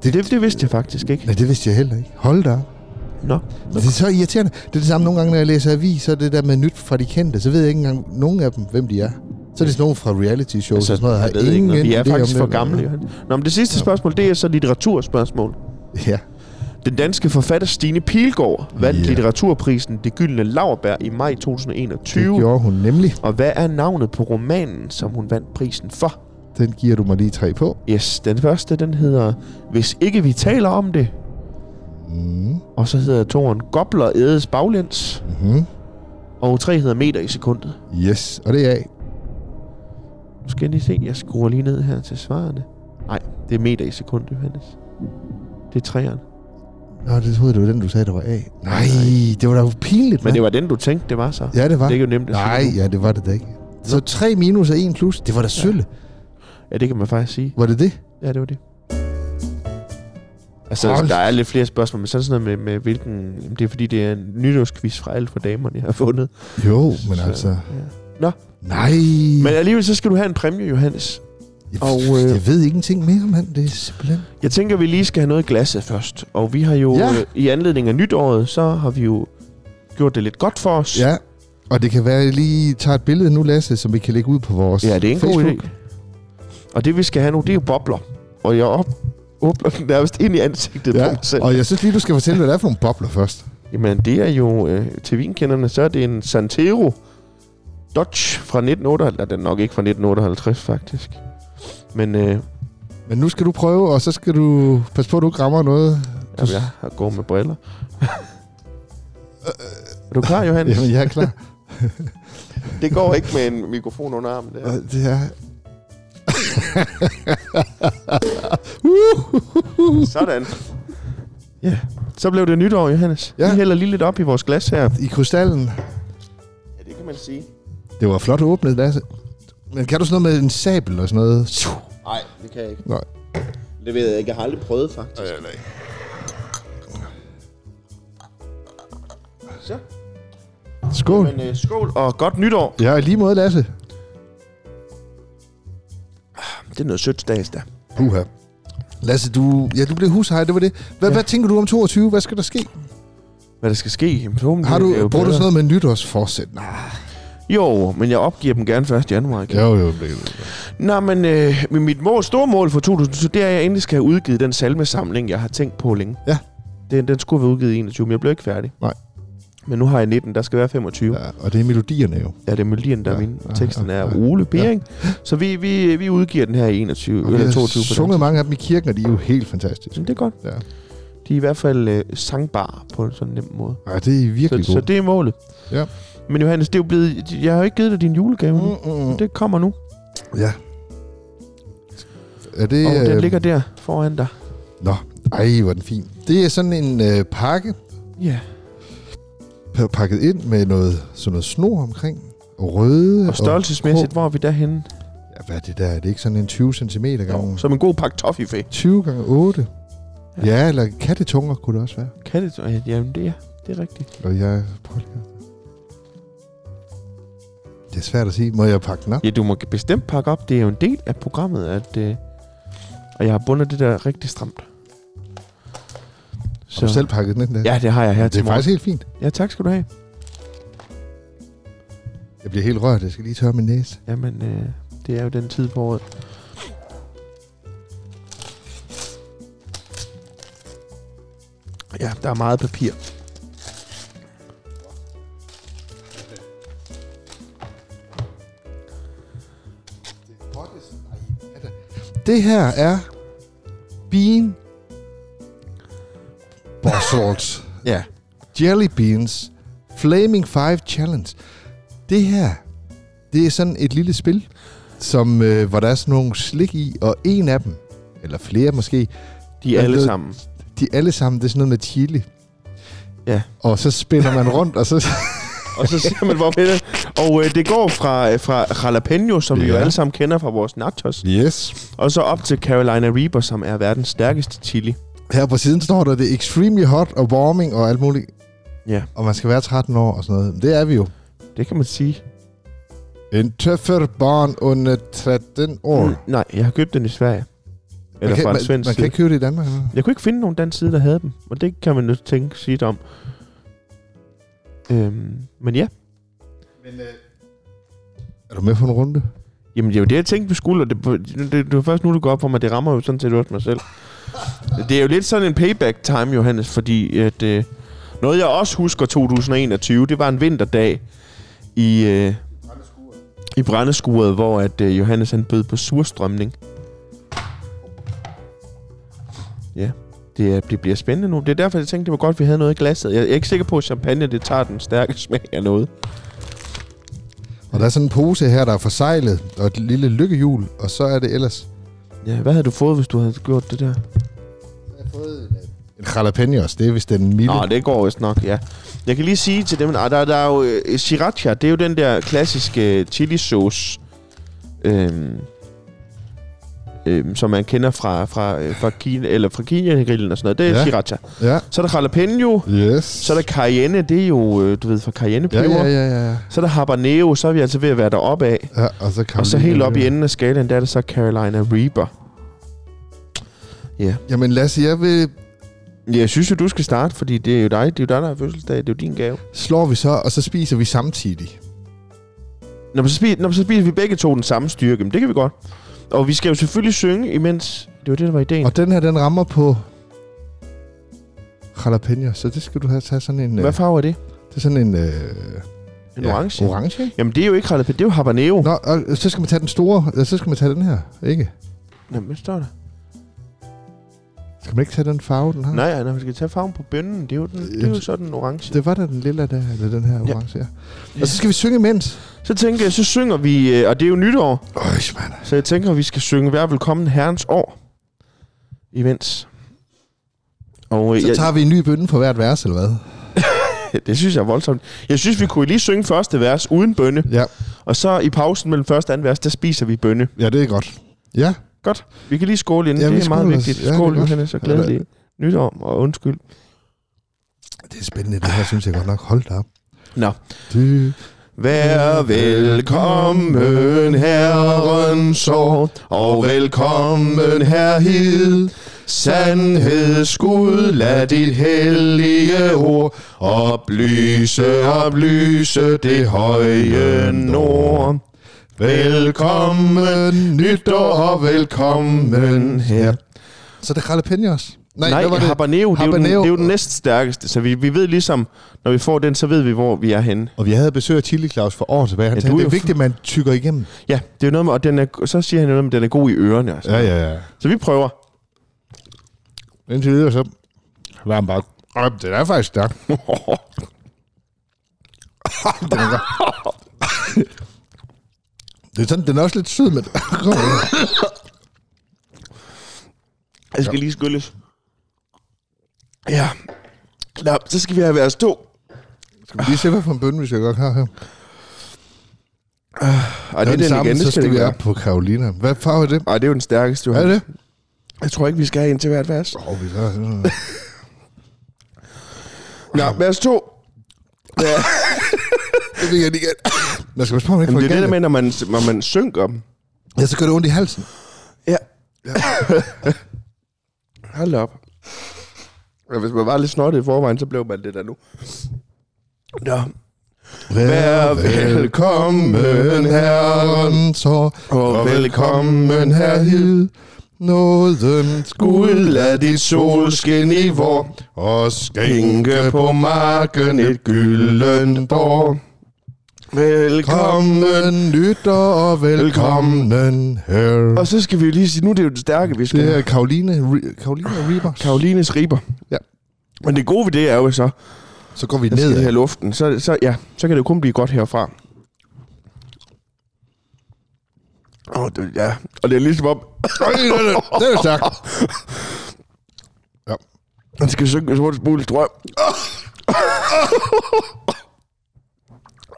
Speaker 1: Det, det vidste jeg faktisk ikke.
Speaker 2: nej, det vidste jeg heller ikke. Hold da op.
Speaker 1: Nå.
Speaker 2: Det er så irriterende. Det er det samme nogle gange, når jeg læser avis, så er det der med nyt fra de kendte, så ved jeg ikke engang nogen af dem, hvem de er. Så er det sådan nogen fra reality shows altså, og sådan noget.
Speaker 1: jeg
Speaker 2: har
Speaker 1: ved ikke, noget. vi er
Speaker 2: idé om
Speaker 1: faktisk for
Speaker 2: hvem-
Speaker 1: gamle. Johan. Nå, men det sidste spørgsmål, det er så litteraturspørgsmål.
Speaker 2: Ja.
Speaker 1: Den danske forfatter Stine Pilgaard vandt
Speaker 2: Ja.
Speaker 1: yeah. litteraturprisen Det Gyldne Lauerbær i maj
Speaker 2: Det
Speaker 1: 2021.
Speaker 2: gjorde hun nemlig.
Speaker 1: Og hvad er navnet på romanen, som hun vandt prisen for?
Speaker 2: Den giver du mig lige tre på.
Speaker 1: Yes, den første, den hedder Hvis ikke vi taler om det.
Speaker 2: Mm.
Speaker 1: Og så hedder toren Gobler ædes baglæns.
Speaker 2: Mm-hmm.
Speaker 1: Og tre hedder meter i sekundet.
Speaker 2: Yes, og det er A.
Speaker 1: Nu skal jeg lige se, jeg skruer lige ned her til svarene. Nej, det er meter i sekundet, Johannes. Det er træerne.
Speaker 2: Nå, det troede jeg, det var den, du sagde, der var A. Nej, det var da jo pinligt,
Speaker 1: Men det
Speaker 2: var...
Speaker 1: var den, du tænkte, det var så.
Speaker 2: Ja, det var.
Speaker 1: Det er jo nemt at sige.
Speaker 2: Nej, ja, det var det da ikke. Så 3 minus og 1 plus, det var da sølle. Ja.
Speaker 1: Ja, det kan man faktisk sige.
Speaker 2: Var det det?
Speaker 1: Ja, det var det. Altså,
Speaker 2: Hold.
Speaker 1: der er lidt flere spørgsmål, men så er det sådan noget med, med hvilken... Jamen, det er fordi, det er en nytårsquiz fra alt for damerne, jeg har fundet.
Speaker 2: Jo, men
Speaker 1: Så-
Speaker 2: altså...
Speaker 1: Ja.
Speaker 2: Nej.
Speaker 1: Men alligevel, så skal du have en præmie, Johannes.
Speaker 2: Jeg,
Speaker 1: og,
Speaker 2: øh...
Speaker 1: øh,
Speaker 2: jeg ved ingenting mere om han. Det er simpelthen...
Speaker 1: Jeg tænker, vi lige skal have noget i glasset først. Og vi har jo,
Speaker 2: Ja.
Speaker 1: ja. øh, i anledning af nytåret, så har vi jo gjort det lidt godt for os.
Speaker 2: Ja, og det kan være, at jeg lige tager et billede nu, Lasse, som vi kan lægge ud på vores
Speaker 1: ja det er en
Speaker 2: Facebook.
Speaker 1: god idé. Og det, vi skal have nu, det er jo bobler. Og jeg op åbner den nærmest ind i ansigtet ja. på mig selv.
Speaker 2: Ja, og jeg synes lige, du skal fortælle, hvad det er for nogle bobler først.
Speaker 1: Jamen, det er jo... Øh, til vinkenderne, så er det en Santero Dodge fra 1958. Nej, Den er nok ikke fra 1958, faktisk. Men øh, jamen,
Speaker 2: Men nu skal du prøve, og så skal du passe på, at du ikke rammer noget.
Speaker 1: jeg har gået med briller.
Speaker 2: Øh,
Speaker 1: er du klar, Johannes?
Speaker 2: Jamen, jeg er klar.
Speaker 1: Det går ikke med en mikrofon under armen. Der.
Speaker 2: Og det er... Øh.
Speaker 1: Sådan. Ja, så blev det nytår, Johannes.
Speaker 2: Ja.
Speaker 1: Ja. Vi hælder lige lidt op i vores glas her.
Speaker 2: I krystallen.
Speaker 1: Ja, det kan man sige.
Speaker 2: Det var flot åbnet, Lasse. Men kan du sådan noget med en sabel og sådan noget? Tju.
Speaker 1: Nej, det kan jeg ikke.
Speaker 2: Nej.
Speaker 1: Det ved jeg ikke. Jeg har aldrig prøvet, faktisk. Så.
Speaker 2: Skål.
Speaker 1: Men øh, skål og godt nytår.
Speaker 2: Ja, i lige måde, Lasse.
Speaker 1: Det er noget sødt stads, der.
Speaker 2: Puha. Lasse, du, ja, du blev hushej, det var det. Hvad,
Speaker 1: Ja.
Speaker 2: ja. hvad tænker du om 22? Hvad skal der ske?
Speaker 1: Hvad der skal ske? Jamen, forhåbentlig
Speaker 2: Har du,
Speaker 1: bliver det jo
Speaker 2: bruger du
Speaker 1: bedre.
Speaker 2: sådan noget med nytårsforsæt? Nej,
Speaker 1: Jo, men jeg opgiver dem gerne 1. januar. Ikke? Ja.
Speaker 2: jo, det er
Speaker 1: Nå, men øh, men mit mål, store mål for 2020, det er, at jeg endelig skal have udgivet den salmesamling, jeg har tænkt på længe.
Speaker 2: Ja.
Speaker 1: Den, den skulle være udgivet i 21, men jeg blev ikke færdig.
Speaker 2: Nej.
Speaker 1: Men nu har jeg 19, der skal være 25. Ja,
Speaker 2: Ja, og det er melodierne jo.
Speaker 1: ja det er melodien, der
Speaker 2: Ja,
Speaker 1: er min.
Speaker 2: ja,
Speaker 1: Teksten
Speaker 2: ja,
Speaker 1: er
Speaker 2: ja.
Speaker 1: Ole Bering. Så vi, vi, vi udgiver den her i 21,
Speaker 2: Og vi
Speaker 1: eller
Speaker 2: har
Speaker 1: 22. på
Speaker 2: sunget
Speaker 1: dansk.
Speaker 2: mange af dem i kirken, og de er jo helt fantastiske.
Speaker 1: Jamen, det er godt.
Speaker 2: Ja.
Speaker 1: De er i hvert fald øh, sangbare på en sådan nem måde.
Speaker 2: Ja, det er
Speaker 1: Så,
Speaker 2: virkelig
Speaker 1: Mm. så
Speaker 2: godt.
Speaker 1: det er målet.
Speaker 2: Ja.
Speaker 1: Men Johannes, det er jo blevet... Jeg har jo ikke givet dig din julegave. Mm. Det kommer nu.
Speaker 2: Ja. Er det...
Speaker 1: Og den
Speaker 2: øh,
Speaker 1: ligger der foran dig.
Speaker 2: Nå, ej, hvor er den fin. Det er sådan en øh, pakke,
Speaker 1: Ja.
Speaker 2: p- pakket ind med noget, sådan noget snor omkring. Og røde...
Speaker 1: Og størrelsesmæssigt, hvor er vi derhenne?
Speaker 2: Og, ja, hvad er det der? Er det ikke sådan en 20 cm gange?
Speaker 1: Som en god pakke toffifee.
Speaker 2: 20 gange 8? Ja,
Speaker 1: Ja.
Speaker 2: ja eller kattetunger kunne det også være.
Speaker 1: Kan det? Ja, Jamen, det er, det er rigtigt.
Speaker 2: Og jeg... Prøv lige her. Det er svært at sige. Må jeg pakke den op?
Speaker 1: Ja, du må bestemt pakke op. Det er jo en del af programmet, at... Øh, og jeg har bundet det der rigtig stramt.
Speaker 2: Har du selv pakket den ind der?
Speaker 1: Ja, det har jeg her
Speaker 2: det
Speaker 1: til
Speaker 2: er
Speaker 1: morgen.
Speaker 2: faktisk helt fint.
Speaker 1: Ja, tak skal du have.
Speaker 2: Jeg bliver helt rørt. Jeg skal lige tørre min næse.
Speaker 1: Jamen, øh, det er jo den tid på året. Ja, der er meget papir.
Speaker 2: Det her er Bean Bossels
Speaker 1: Ja.
Speaker 2: Jelly Beans Flaming Five Challenge. Det her, det er sådan et lille spil, som, øh, hvor der er sådan nogle slik i, og en af dem, eller flere måske,
Speaker 1: De er
Speaker 2: Men
Speaker 1: alle
Speaker 2: det-
Speaker 1: sammen.
Speaker 2: de alle sammen, det er sådan noget med chili.
Speaker 1: Ja.
Speaker 2: Og så spinner man rundt, og så...
Speaker 1: Og så ser man, hvor med det. Og øh, det går fra, øh, fra jalapeno, som ja. vi jo
Speaker 2: Ja.
Speaker 1: alle sammen kender fra vores nachos,
Speaker 2: Yes.
Speaker 1: og så op til Carolina Reaper, som er verdens stærkeste chili.
Speaker 2: Her på siden står der, det er extremely hot og warming og alt muligt.
Speaker 1: Ja,
Speaker 2: Og man skal være 13 år og sådan noget. Det er vi jo.
Speaker 1: det kan man sige.
Speaker 2: En tøffer barn under 13 år. Mm.
Speaker 1: Mm, nej, jeg har købt den i Sverige. Mm. Eller
Speaker 2: man,
Speaker 1: fra en
Speaker 2: kan, man,
Speaker 1: svensk
Speaker 2: man kan
Speaker 1: side.
Speaker 2: ikke købe det i Danmark. eller hvad?
Speaker 1: Jeg kunne ikke finde nogen dansk side, der havde dem. Og det kan man jo tænke sit om. Øhm, men ja,
Speaker 2: Er du med på en runde?
Speaker 1: Jamen, det er jo det, jeg tænkte, vi skulle, og det, det, det, det var først nu, det går op for mig. Det rammer jo sådan set også mig selv. Det er jo lidt sådan en payback time, Johannes, fordi at, øh, noget, jeg også husker 2021, det var en vinterdag i, øh, i brændeskuret, hvor at, øh, Johannes han bød på surstrømning. Ja, det, er- det bliver spændende nu. Det er derfor, jeg tænkte, det var godt, vi havde noget i glasset. Jeg er ikke sikker på, at champagne det tager den stærke smag af noget.
Speaker 2: Og der er sådan en pose her, der er forsejlet, og et lille lykkehjul, og så er det ellers...
Speaker 1: Ja, hvad havde du fået, hvis du havde gjort det der?
Speaker 2: Jeg har fået en, en jalapenos, det er vist den milde.
Speaker 1: Nå, det går vist nok, ja. Jeg kan lige sige til dem, at der, der er jo øh, sriracha, det er jo den der klassiske chili sauce, øhm, øhm, som man kender fra, fra, øh, fra, Kina, eller fra Kina-grillen og sådan noget. Det er
Speaker 2: Ja.
Speaker 1: ja. sriracha.
Speaker 2: Ja.
Speaker 1: Så er der jalapeno,
Speaker 2: Yes.
Speaker 1: så er der cayenne, det er jo, øh, du ved, fra cayenne
Speaker 2: ja, ja,
Speaker 1: ja.
Speaker 2: ja, ja, ja.
Speaker 1: Så er der habanero, så er vi altså ved at være deroppe af.
Speaker 2: ja og så,
Speaker 1: Og så helt op i enden af skalaen, der er det så Carolina Reaper.
Speaker 2: Jamen Lasse, jeg vil...
Speaker 1: Jeg synes jo, du skal starte, fordi det er jo dig, det er jo dig, der har fødselsdag, det er jo din gave.
Speaker 2: Slår vi så, og så spiser vi samtidig.
Speaker 1: Når så, spiser, når så spiser vi begge to den samme styrke, men det kan vi godt. Og vi skal jo selvfølgelig synge imens. Det var det, der var ideen.
Speaker 2: Og den her, den rammer på jalapeno, så det skal du have tage sådan en... øh,
Speaker 1: Hvad farve er det?
Speaker 2: Det er sådan en... Øh,
Speaker 1: En ja, orange?
Speaker 2: Orange, ikke?
Speaker 1: Jamen, det er jo ikke jalapeno, det er jo habanero.
Speaker 2: Oh. Nå, og så skal man tage den store, eller så skal man tage den her, ikke?
Speaker 1: Jamen, hvad står der?
Speaker 2: Skal man ikke tage den farve, den har?
Speaker 1: Nej, nej, nej, vi skal tage farven på bønnen. Det er jo, den,
Speaker 2: Øh,
Speaker 1: det er jo sådan en orange.
Speaker 2: Det var da den lille der, eller den her
Speaker 1: Ja.
Speaker 2: orange, ja. Og så skal vi synge imens.
Speaker 1: Så tænker jeg, så synger vi, øh, og det er jo nytår,
Speaker 2: Øj, mand.
Speaker 1: så jeg tænker, vi skal synge Vær velkommen herrens år. Imens. Og, øh,
Speaker 2: Så
Speaker 1: jeg,
Speaker 2: tager vi en ny bønne på hvert vers, eller hvad?
Speaker 1: det synes jeg er voldsomt. Jeg synes, vi kunne lige synge første vers uden bønne.
Speaker 2: Ja,
Speaker 1: Og så i pausen mellem første og anden vers, der spiser vi bønne.
Speaker 2: ja det er godt. Ja,
Speaker 1: Godt. Vi kan lige skåle inden.
Speaker 2: Ja,
Speaker 1: Ja,
Speaker 2: vi
Speaker 1: det er meget
Speaker 2: skåler.
Speaker 1: vigtigt.
Speaker 2: Ja, det er
Speaker 1: Skål,
Speaker 2: godt.
Speaker 1: Johannes, og glædelig nytår og undskyld.
Speaker 2: det er spændende, det her, synes jeg godt nok. Hold da op.
Speaker 1: Nå.
Speaker 2: Du.
Speaker 1: Vær velkommen, Herren så, og velkommen herhid. Sandheds Gud, lad dit hellige ord oplyse, oplyse det høje nord. Velkommen nytår, og velkommen her.
Speaker 2: Så er det jalapenos.
Speaker 1: Nej, Nej
Speaker 2: hvad var det?
Speaker 1: habanero, det er, jo den, det
Speaker 2: Habanero.
Speaker 1: er jo den næststærkeste. Så vi, vi ved ligesom, når vi får den, så ved vi, hvor vi er henne.
Speaker 2: Og vi havde besøg af Chili Claus for år tilbage. Han
Speaker 1: Ja,
Speaker 2: sagde,
Speaker 1: du er
Speaker 2: det er
Speaker 1: jo
Speaker 2: vigtigt, at man tykker igennem.
Speaker 1: Ja, det er jo noget med, og den er, så siger han jo noget med, at den er god i ørerne. Altså.
Speaker 2: Ja, ja, ja.
Speaker 1: Så vi prøver.
Speaker 2: Indtil videre, så var han bare, "Åh, den er faktisk stærk. den er god. det er sådan, den er også lidt sød, men...
Speaker 1: Jeg skal lige skyldes. Ja. Nå, så skal vi have været stå.
Speaker 2: skal vi lige se, hvad for en bønne, vi skal gøre her? her?
Speaker 1: Ej, det er den,
Speaker 2: samme,
Speaker 1: igen,
Speaker 2: så
Speaker 1: det skal
Speaker 2: skal
Speaker 1: det
Speaker 2: vi
Speaker 1: være.
Speaker 2: op på Carolina. Hvad farve er det?
Speaker 1: Ej, det er jo den stærkeste,
Speaker 2: Er
Speaker 1: Johan.
Speaker 2: det?
Speaker 1: Jeg tror ikke, vi skal have en til hvert vers.
Speaker 2: Åh, vi gør sådan noget.
Speaker 1: Nå, vers to. Ja,
Speaker 2: Det vil jeg lige igen. Man skal passe på, man ikke
Speaker 1: men
Speaker 2: får
Speaker 1: det er det der
Speaker 2: galt.
Speaker 1: med, når man, når man synker.
Speaker 2: Ja, så gør det ondt i halsen.
Speaker 1: Ja. Hold op. Ja, Hvis man var lidt snottet i forvejen, så blev man det der nu. Nå, Vær velkommen, Herren,
Speaker 2: så
Speaker 1: og velkommen
Speaker 2: herhid. Nåden
Speaker 1: Gud, lad dit solskin i vor
Speaker 2: og
Speaker 1: Skænke på marken et gyldent år. Velkommen.
Speaker 2: nytter og
Speaker 1: velkommen,
Speaker 2: her.
Speaker 1: Og så skal vi jo lige sige, nu er det jo det stærke, vi skal
Speaker 2: Det
Speaker 1: have.
Speaker 2: er Karoline, Re- Karoline Reapers.
Speaker 1: Karolines riber.
Speaker 2: Ja.
Speaker 1: Men det gode ved det er jo så,
Speaker 2: Så går vi
Speaker 1: der skal det her
Speaker 2: ned.
Speaker 1: luften. Så, så, ja, så kan det jo kun blive godt herfra. Og det, ja. og det er ligesom om,
Speaker 2: Det er jo stærkt.
Speaker 1: man skal synge så hurtigt muligt, tror jeg.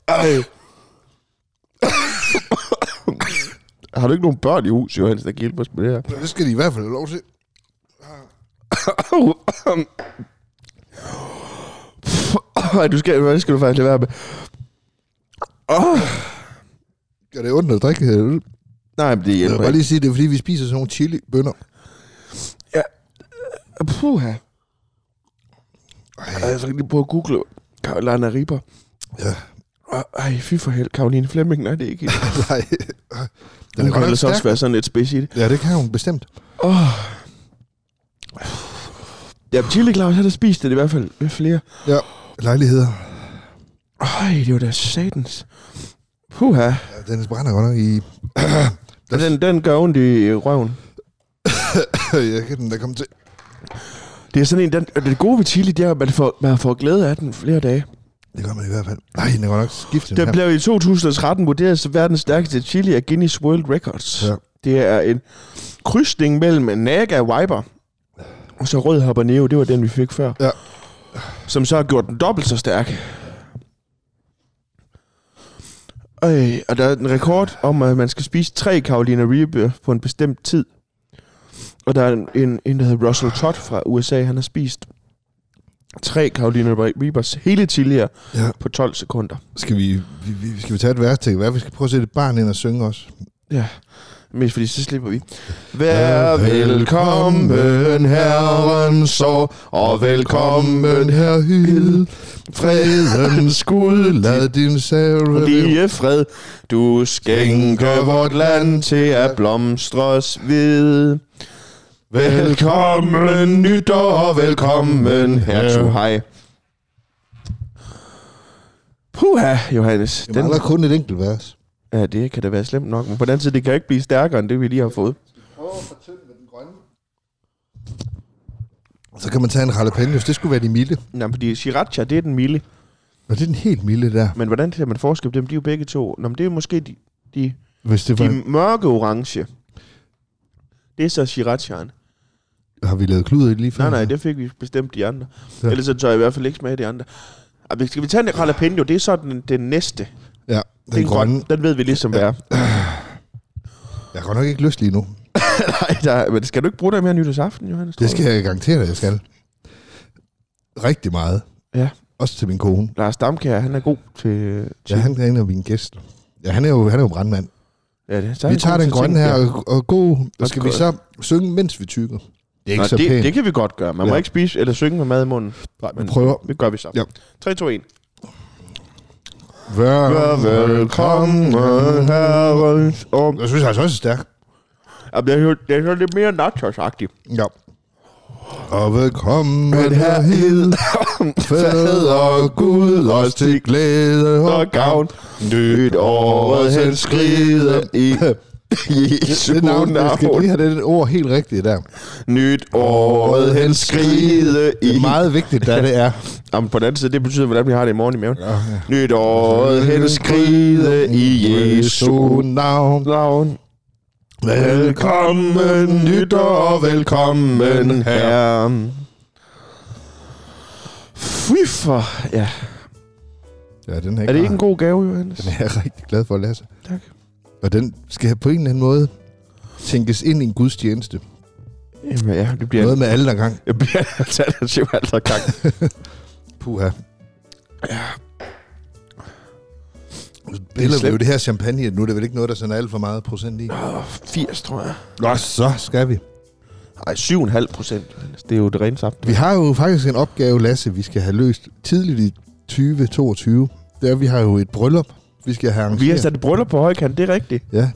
Speaker 1: Ej. Har du ikke nogen børn i hus, Johannes, der kan hjælpe os med det her?
Speaker 2: Det skal de i hvert fald have lov til.
Speaker 1: Ej, du skal, hvad skal du faktisk lade være med?
Speaker 2: Gør det ondt at drikke? Jeg
Speaker 1: Nej, men det
Speaker 2: vil
Speaker 1: hjælper
Speaker 2: bare
Speaker 1: ikke.
Speaker 2: lige sige, det er fordi, vi spiser sådan nogle chili-bønner.
Speaker 1: Puha.
Speaker 2: Ej,
Speaker 1: Jeg skal altså lige prøve at google Carolina Reaper.
Speaker 2: ja.
Speaker 1: Ej, fy for hel. Caroline Fleming, nej, det er ikke hende.
Speaker 2: Nej.
Speaker 1: Hun kan
Speaker 2: godt
Speaker 1: ellers
Speaker 2: nok
Speaker 1: også
Speaker 2: stærk.
Speaker 1: være sådan lidt spids i det.
Speaker 2: Ja, det kan hun bestemt.
Speaker 1: Oh. Ja, Chili Claus, han har spist det i hvert fald ved flere.
Speaker 2: Lejligheder.
Speaker 1: Ej, det var da satans. Puha.
Speaker 2: Ja, den brænder godt nok i...
Speaker 1: Den, den, den gør ondt i røven.
Speaker 2: jeg kan den der komme til.
Speaker 1: Det er sådan en, den, og det gode ved chili, det er, at man får, man får glæde af den flere dage.
Speaker 2: Det gør man i hvert fald. Nej, den er godt nok skiftet.
Speaker 1: Den blev i 2013 vurderet som verdens stærkeste chili af Guinness World Records.
Speaker 2: Ja.
Speaker 1: Det er en krydsning mellem en Naga Viper og så rød habanero, det var den, vi fik før.
Speaker 2: Ja.
Speaker 1: Som så har gjort den dobbelt så stærk. Øj, og der er en rekord om, at man skal spise tre Carolina Reaper på en bestemt tid. Og der er en, en, en der hedder Russell Todd fra USA, han har spist tre Carolina Reapers hele tidligere
Speaker 2: Ja.
Speaker 1: på 12 sekunder.
Speaker 2: Skal vi, vi, vi, skal vi tage et værst til? Hvad, vi skal prøve at sætte et barn ind og synge også.
Speaker 1: Mest fordi, så slipper vi. Vær velkommen, herren, så, og velkommen,
Speaker 2: her hyld. Fredens Gud, lad din sære...
Speaker 1: lige fred. Du skænke vort land til at blomstres ved. Velkommen nytår, velkommen hertug hej. Puha, Johannes.
Speaker 2: Den... Der
Speaker 1: Den,
Speaker 2: er kun et enkelt vers.
Speaker 1: ja, det kan da være slemt nok, men på den anden side, det kan ikke blive stærkere end det, vi lige har fået.
Speaker 2: Prøv at fortynde med den grønne. Så kan man tage en jalapenos. Det skulle være de milde.
Speaker 1: Nej, fordi sriracha, det er den milde.
Speaker 2: Og det er den helt milde der.
Speaker 1: Men hvordan ser man forskel på dem? De er jo begge to. Nå, men det er måske de, de,
Speaker 2: Hvis det var...
Speaker 1: de mørke orange. Det er så sriracha'en.
Speaker 2: Har vi lavet kluder i det lige før?
Speaker 1: Nej, nej, det fik vi bestemt de andre.
Speaker 2: Ja.
Speaker 1: Ja. Ellers så tør jeg i hvert fald ikke smage de andre. Ej, men Skal vi tage en jalapeno? Det er så den, den næste.
Speaker 2: Ja, den,
Speaker 1: Den,
Speaker 2: den grønne.
Speaker 1: grøn, den ved vi ligesom, hvad er.
Speaker 2: Jeg har godt nok ikke lyst lige nu.
Speaker 1: Nej, der, men skal du ikke bruge dig mere nytårsaften, Johannes?
Speaker 2: Det skal jeg garantere dig, jeg skal. Rigtig meget.
Speaker 1: Ja.
Speaker 2: Også til min kone.
Speaker 1: Lars Damkær, han er god til... til
Speaker 2: Ja, han er en af mine gæster. Ja, han er jo, han er jo brandmand.
Speaker 1: ja det, så er
Speaker 2: Vi
Speaker 1: han
Speaker 2: tager
Speaker 1: god
Speaker 2: den
Speaker 1: til
Speaker 2: grønne
Speaker 1: ting,
Speaker 2: her
Speaker 1: ja.
Speaker 2: og, og god. Og
Speaker 1: Og
Speaker 2: skal
Speaker 1: skål.
Speaker 2: vi så synge, mens vi tykker? Det er ikke
Speaker 1: Nå,
Speaker 2: så
Speaker 1: det,
Speaker 2: pænt.
Speaker 1: det kan vi godt gøre. Man ja. må
Speaker 2: Ja.
Speaker 1: ikke spise eller synge med mad i munden.
Speaker 2: Nej, vi
Speaker 1: men-
Speaker 2: prøver.
Speaker 1: Det gør vi så.
Speaker 2: Ja.
Speaker 1: 3, 2, 1.
Speaker 2: Vær
Speaker 1: Velkommen, herrens om.
Speaker 2: Jeg synes altså også, det er stærk.
Speaker 1: Jamen, det er jo, det er jo lidt mere nachos-agtigt.
Speaker 2: Ja. Og velkommen
Speaker 1: Men her
Speaker 2: herhed, fader Gud, os til glæde og
Speaker 1: Og
Speaker 2: gavn.
Speaker 1: gavn. Nyt året hen skride i Jesu
Speaker 2: Det navn, jeg skal
Speaker 1: navn.
Speaker 2: lige have det ord helt rigtigt der.
Speaker 1: Nyt året hen skride
Speaker 2: Det
Speaker 1: i...
Speaker 2: er meget vigtigt, da det er.
Speaker 1: Jamen, på den anden side, det betyder, hvordan vi har det i morgen i maven.
Speaker 2: Ja, ja.
Speaker 1: Nyt året hen skride i Jesu
Speaker 2: navn.
Speaker 1: navn.
Speaker 2: Velkommen nytår, og velkommen
Speaker 1: velkommen
Speaker 2: her.
Speaker 1: herren. Fy for... Ja.
Speaker 2: Ja, den er,
Speaker 1: Er det ikke en
Speaker 2: rar.
Speaker 1: god gave, Johannes?
Speaker 2: Den er jeg rigtig glad for, Lasse.
Speaker 1: Tak.
Speaker 2: Og den skal på en eller anden måde tænkes ind i en gudstjeneste.
Speaker 1: Jamen, ja, det bliver
Speaker 2: Noget med alle der gang.
Speaker 1: Jeg bliver en alternativ altergang.
Speaker 2: Puha.
Speaker 1: Ja.
Speaker 2: Biller vi jo
Speaker 1: slemt.
Speaker 2: det her champagne, nu er det vel ikke noget, der sådan er alt for meget procent i.
Speaker 1: Åh, 80, tror jeg.
Speaker 2: Nå, så skal vi.
Speaker 1: Ej, 7,5 procent. Johannes. Det er jo det rene saft.
Speaker 2: Vi har jo faktisk en opgave, Lasse, vi skal have løst tidligt i 2022. Det er, vi har jo et bryllup, vi skal have arrangeret.
Speaker 1: Vi har sat et bryllup på højkant, det er rigtigt.
Speaker 2: Ja,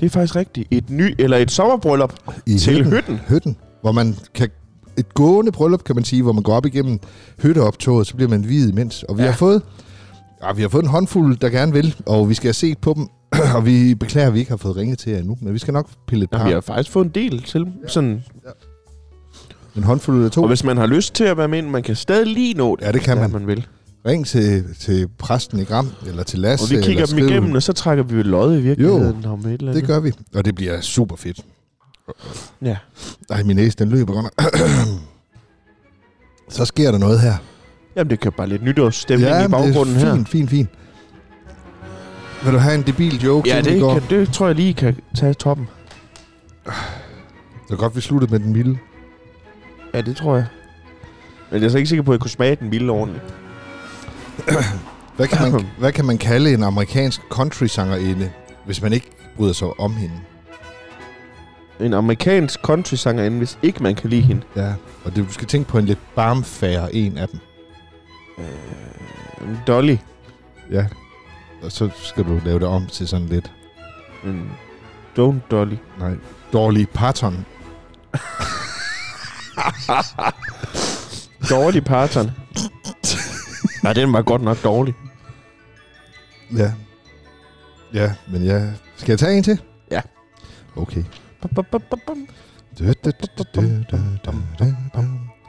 Speaker 1: Det er faktisk rigtigt. Et ny, eller et sommerbryllup
Speaker 2: i
Speaker 1: til hytten.
Speaker 2: Hytten, hvor man kan et gående bryllup, kan man sige, hvor man går op igennem hytteoptoget, så bliver man viet imens. Og vi ja.
Speaker 1: Ja.
Speaker 2: har fået ja, vi har fået en håndfuld, der gerne vil, og vi skal have set på dem. og vi beklager, at vi ikke har fået ringet til jer endnu, men vi skal nok pille et
Speaker 1: Ja,
Speaker 2: par.
Speaker 1: vi har faktisk fået en del til. Sådan.
Speaker 2: En håndfuld eller to.
Speaker 1: Og hvis man har lyst til at være med, ind, man kan stadig lige nå det,
Speaker 2: Ja, det kan
Speaker 1: der
Speaker 2: man.
Speaker 1: man vil.
Speaker 2: Ring til, til præsten i Gram, eller til Lasse.
Speaker 1: Og vi kigger dem
Speaker 2: eller skriv.
Speaker 1: igennem, og så trækker vi jo lod i virkeligheden om et eller andet.
Speaker 2: Det gør vi, og det bliver super fedt.
Speaker 1: Ja.
Speaker 2: Ej, min næse, den løber godt nok. Så sker der noget her.
Speaker 1: Jamen, det kan bare lidt nytårsstemning i baggrunden
Speaker 2: det er
Speaker 1: her.
Speaker 2: fint, fint, fint. Vil du have en debil joke?
Speaker 1: Ja,
Speaker 2: inden vi
Speaker 1: det,
Speaker 2: går?
Speaker 1: kan, det tror jeg lige kan tage toppen.
Speaker 2: Det er godt, vi sluttede med den milde.
Speaker 1: Ja, det tror jeg. Men jeg er så ikke sikker på, at jeg kunne smage den vilde ordentligt.
Speaker 2: Hvad kan, man, hvad kan man kalde en amerikansk country-sangerinde, hvis man ikke bryder sig om hende?
Speaker 1: en amerikansk country-sangerinde, hvis ikke man kan lide hende.
Speaker 2: Ja. Og det, du skal tænke på en lidt barmfærre en af dem.
Speaker 1: Øh, Dolly.
Speaker 2: Ja. Og så skal du lave det om til sådan lidt,
Speaker 1: Mm. Don't Dolly.
Speaker 2: nej, dårlig Parton.
Speaker 1: Dårlig Parton. Nej, den var godt nok dårlig.
Speaker 2: Ja. Ja, men ja. Skal jeg tage en til?
Speaker 1: Ja.
Speaker 2: Okay.
Speaker 1: Bum, bum, bum, bum, bum.
Speaker 2: Du, du, du, du, du, du, du, du, du.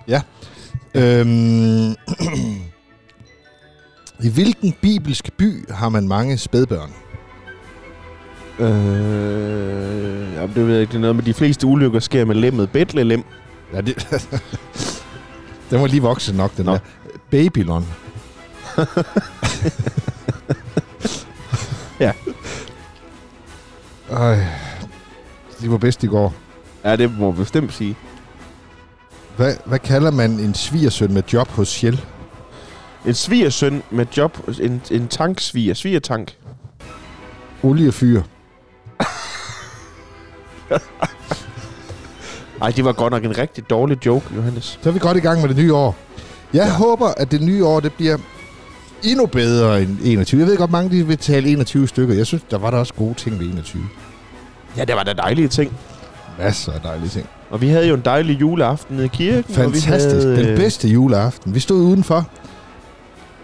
Speaker 2: Ja. Øhm. I hvilken bibelsk by har man mange spædbørn?
Speaker 1: Øh, jamen, det ved jeg ikke. Det er noget med, de fleste ulykker sker med lemmet. Betlelem.
Speaker 2: Ja, det... den var lige voksen nok, den
Speaker 1: Nå.
Speaker 2: der. Babylon.
Speaker 1: Ja.
Speaker 2: Ej. De var bedst i går.
Speaker 1: Ja, det må vi bestemt sige.
Speaker 2: Hvad, hvad kalder man en svigersøn med job hos Shell?
Speaker 1: En svigersøn med job. En, en tanksviger. Svigertank.
Speaker 2: Oliefyr.
Speaker 1: Ej, det var godt nok en rigtig dårlig joke, Johannes.
Speaker 2: Så er vi godt i gang med det nye år. Jeg ja. håber, at det nye år det bliver endnu bedre end 21. Jeg ved godt, mange de vil tale 21 stykker. Jeg synes, der var der også gode ting ved 21.
Speaker 1: Ja, det var da dejlige ting.
Speaker 2: Masser af dejlige ting.
Speaker 1: Og vi havde jo en dejlig juleaften nede i kirken.
Speaker 2: Fantastisk.
Speaker 1: Og vi havde,
Speaker 2: Den
Speaker 1: øh,
Speaker 2: bedste juleaften. Vi stod udenfor,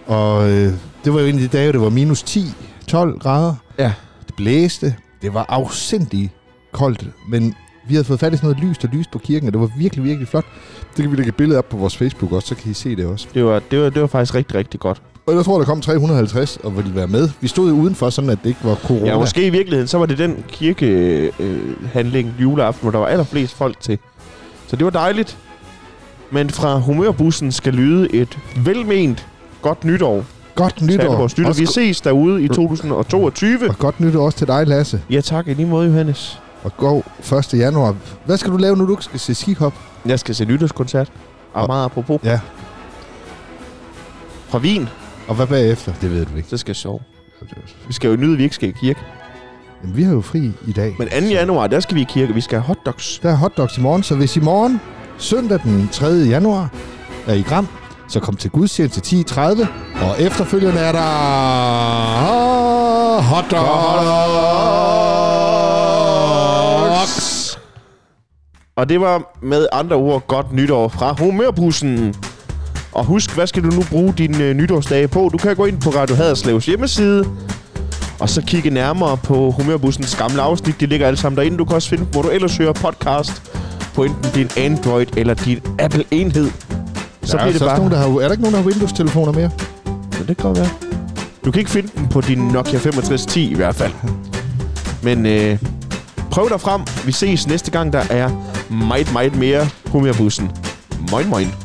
Speaker 2: og øh, det var jo en af de dage, hvor det var minus 10-12 grader.
Speaker 1: Ja.
Speaker 2: Det blæste. Det var afsindig koldt, men vi havde fået fat i sådan noget lys, der lyste på kirken, og det var virkelig, virkelig flot. Det kan vi lægge et billede op på vores Facebook også, så kan I se det også.
Speaker 1: Det var, det, var, det var faktisk rigtig, rigtig godt.
Speaker 2: Og jeg tror, der kom 350 og ville være med. Vi stod jo udenfor, sådan at det ikke var corona.
Speaker 1: Ja, måske i virkeligheden, så var det den kirkehandling øh, handling juleaften, hvor der var allerflest folk til. Så det var dejligt. Men fra humørbussen skal lyde et velment godt nytår.
Speaker 2: Godt
Speaker 1: til alle
Speaker 2: nytår.
Speaker 1: vores lyttere.
Speaker 2: Også
Speaker 1: Vi ses derude i 2022.
Speaker 2: Og godt nytår også til dig, Lasse.
Speaker 1: Ja tak, i lige måde, Johannes.
Speaker 2: Og gå 1. januar. Hvad skal du lave, når du ikke skal se skihop?
Speaker 1: Jeg skal se nytårskoncert. Og
Speaker 2: Og-
Speaker 1: meget apropos.
Speaker 2: Ja.
Speaker 1: Fra Wien,
Speaker 2: Og hvad bagefter? Det ved du ikke.
Speaker 1: så skal jeg sove. Vi skal jo nyde, at vi ikke skal i kirke.
Speaker 2: Jamen, vi har jo fri i dag.
Speaker 1: Men 2. januar, der skal vi i kirke. Vi skal have hotdogs.
Speaker 2: Der er hotdogs i morgen, så hvis i morgen, søndag den 3. januar, er i Gram, så kom til gudstjeneste 10.30, og efterfølgende er der hotdogs.
Speaker 1: Og det var med andre ord godt nytår fra Humørbussen. Og husk, hvad skal du nu bruge din øh, nytårsdage på? Du kan gå ind på Radio Haderslevs hjemmeside, og så kigge nærmere på Humørbussens gamle afsnit. De ligger alle sammen derinde. Du kan også finde, dem, hvor du ellers hører podcast på enten din Android eller din Apple-enhed. Så ja,
Speaker 2: Så
Speaker 1: bliver
Speaker 2: der er,
Speaker 1: det
Speaker 2: altså også
Speaker 1: bare...
Speaker 2: nogen, der har, er der ikke nogen, der har Windows-telefoner mere?
Speaker 1: Men det kan godt være. Du kan ikke finde den på din Nokia 6510 i hvert fald. Men øh, prøv dig frem. Vi ses næste gang, der er meget, meget mere Humørbussen. Moin, moin.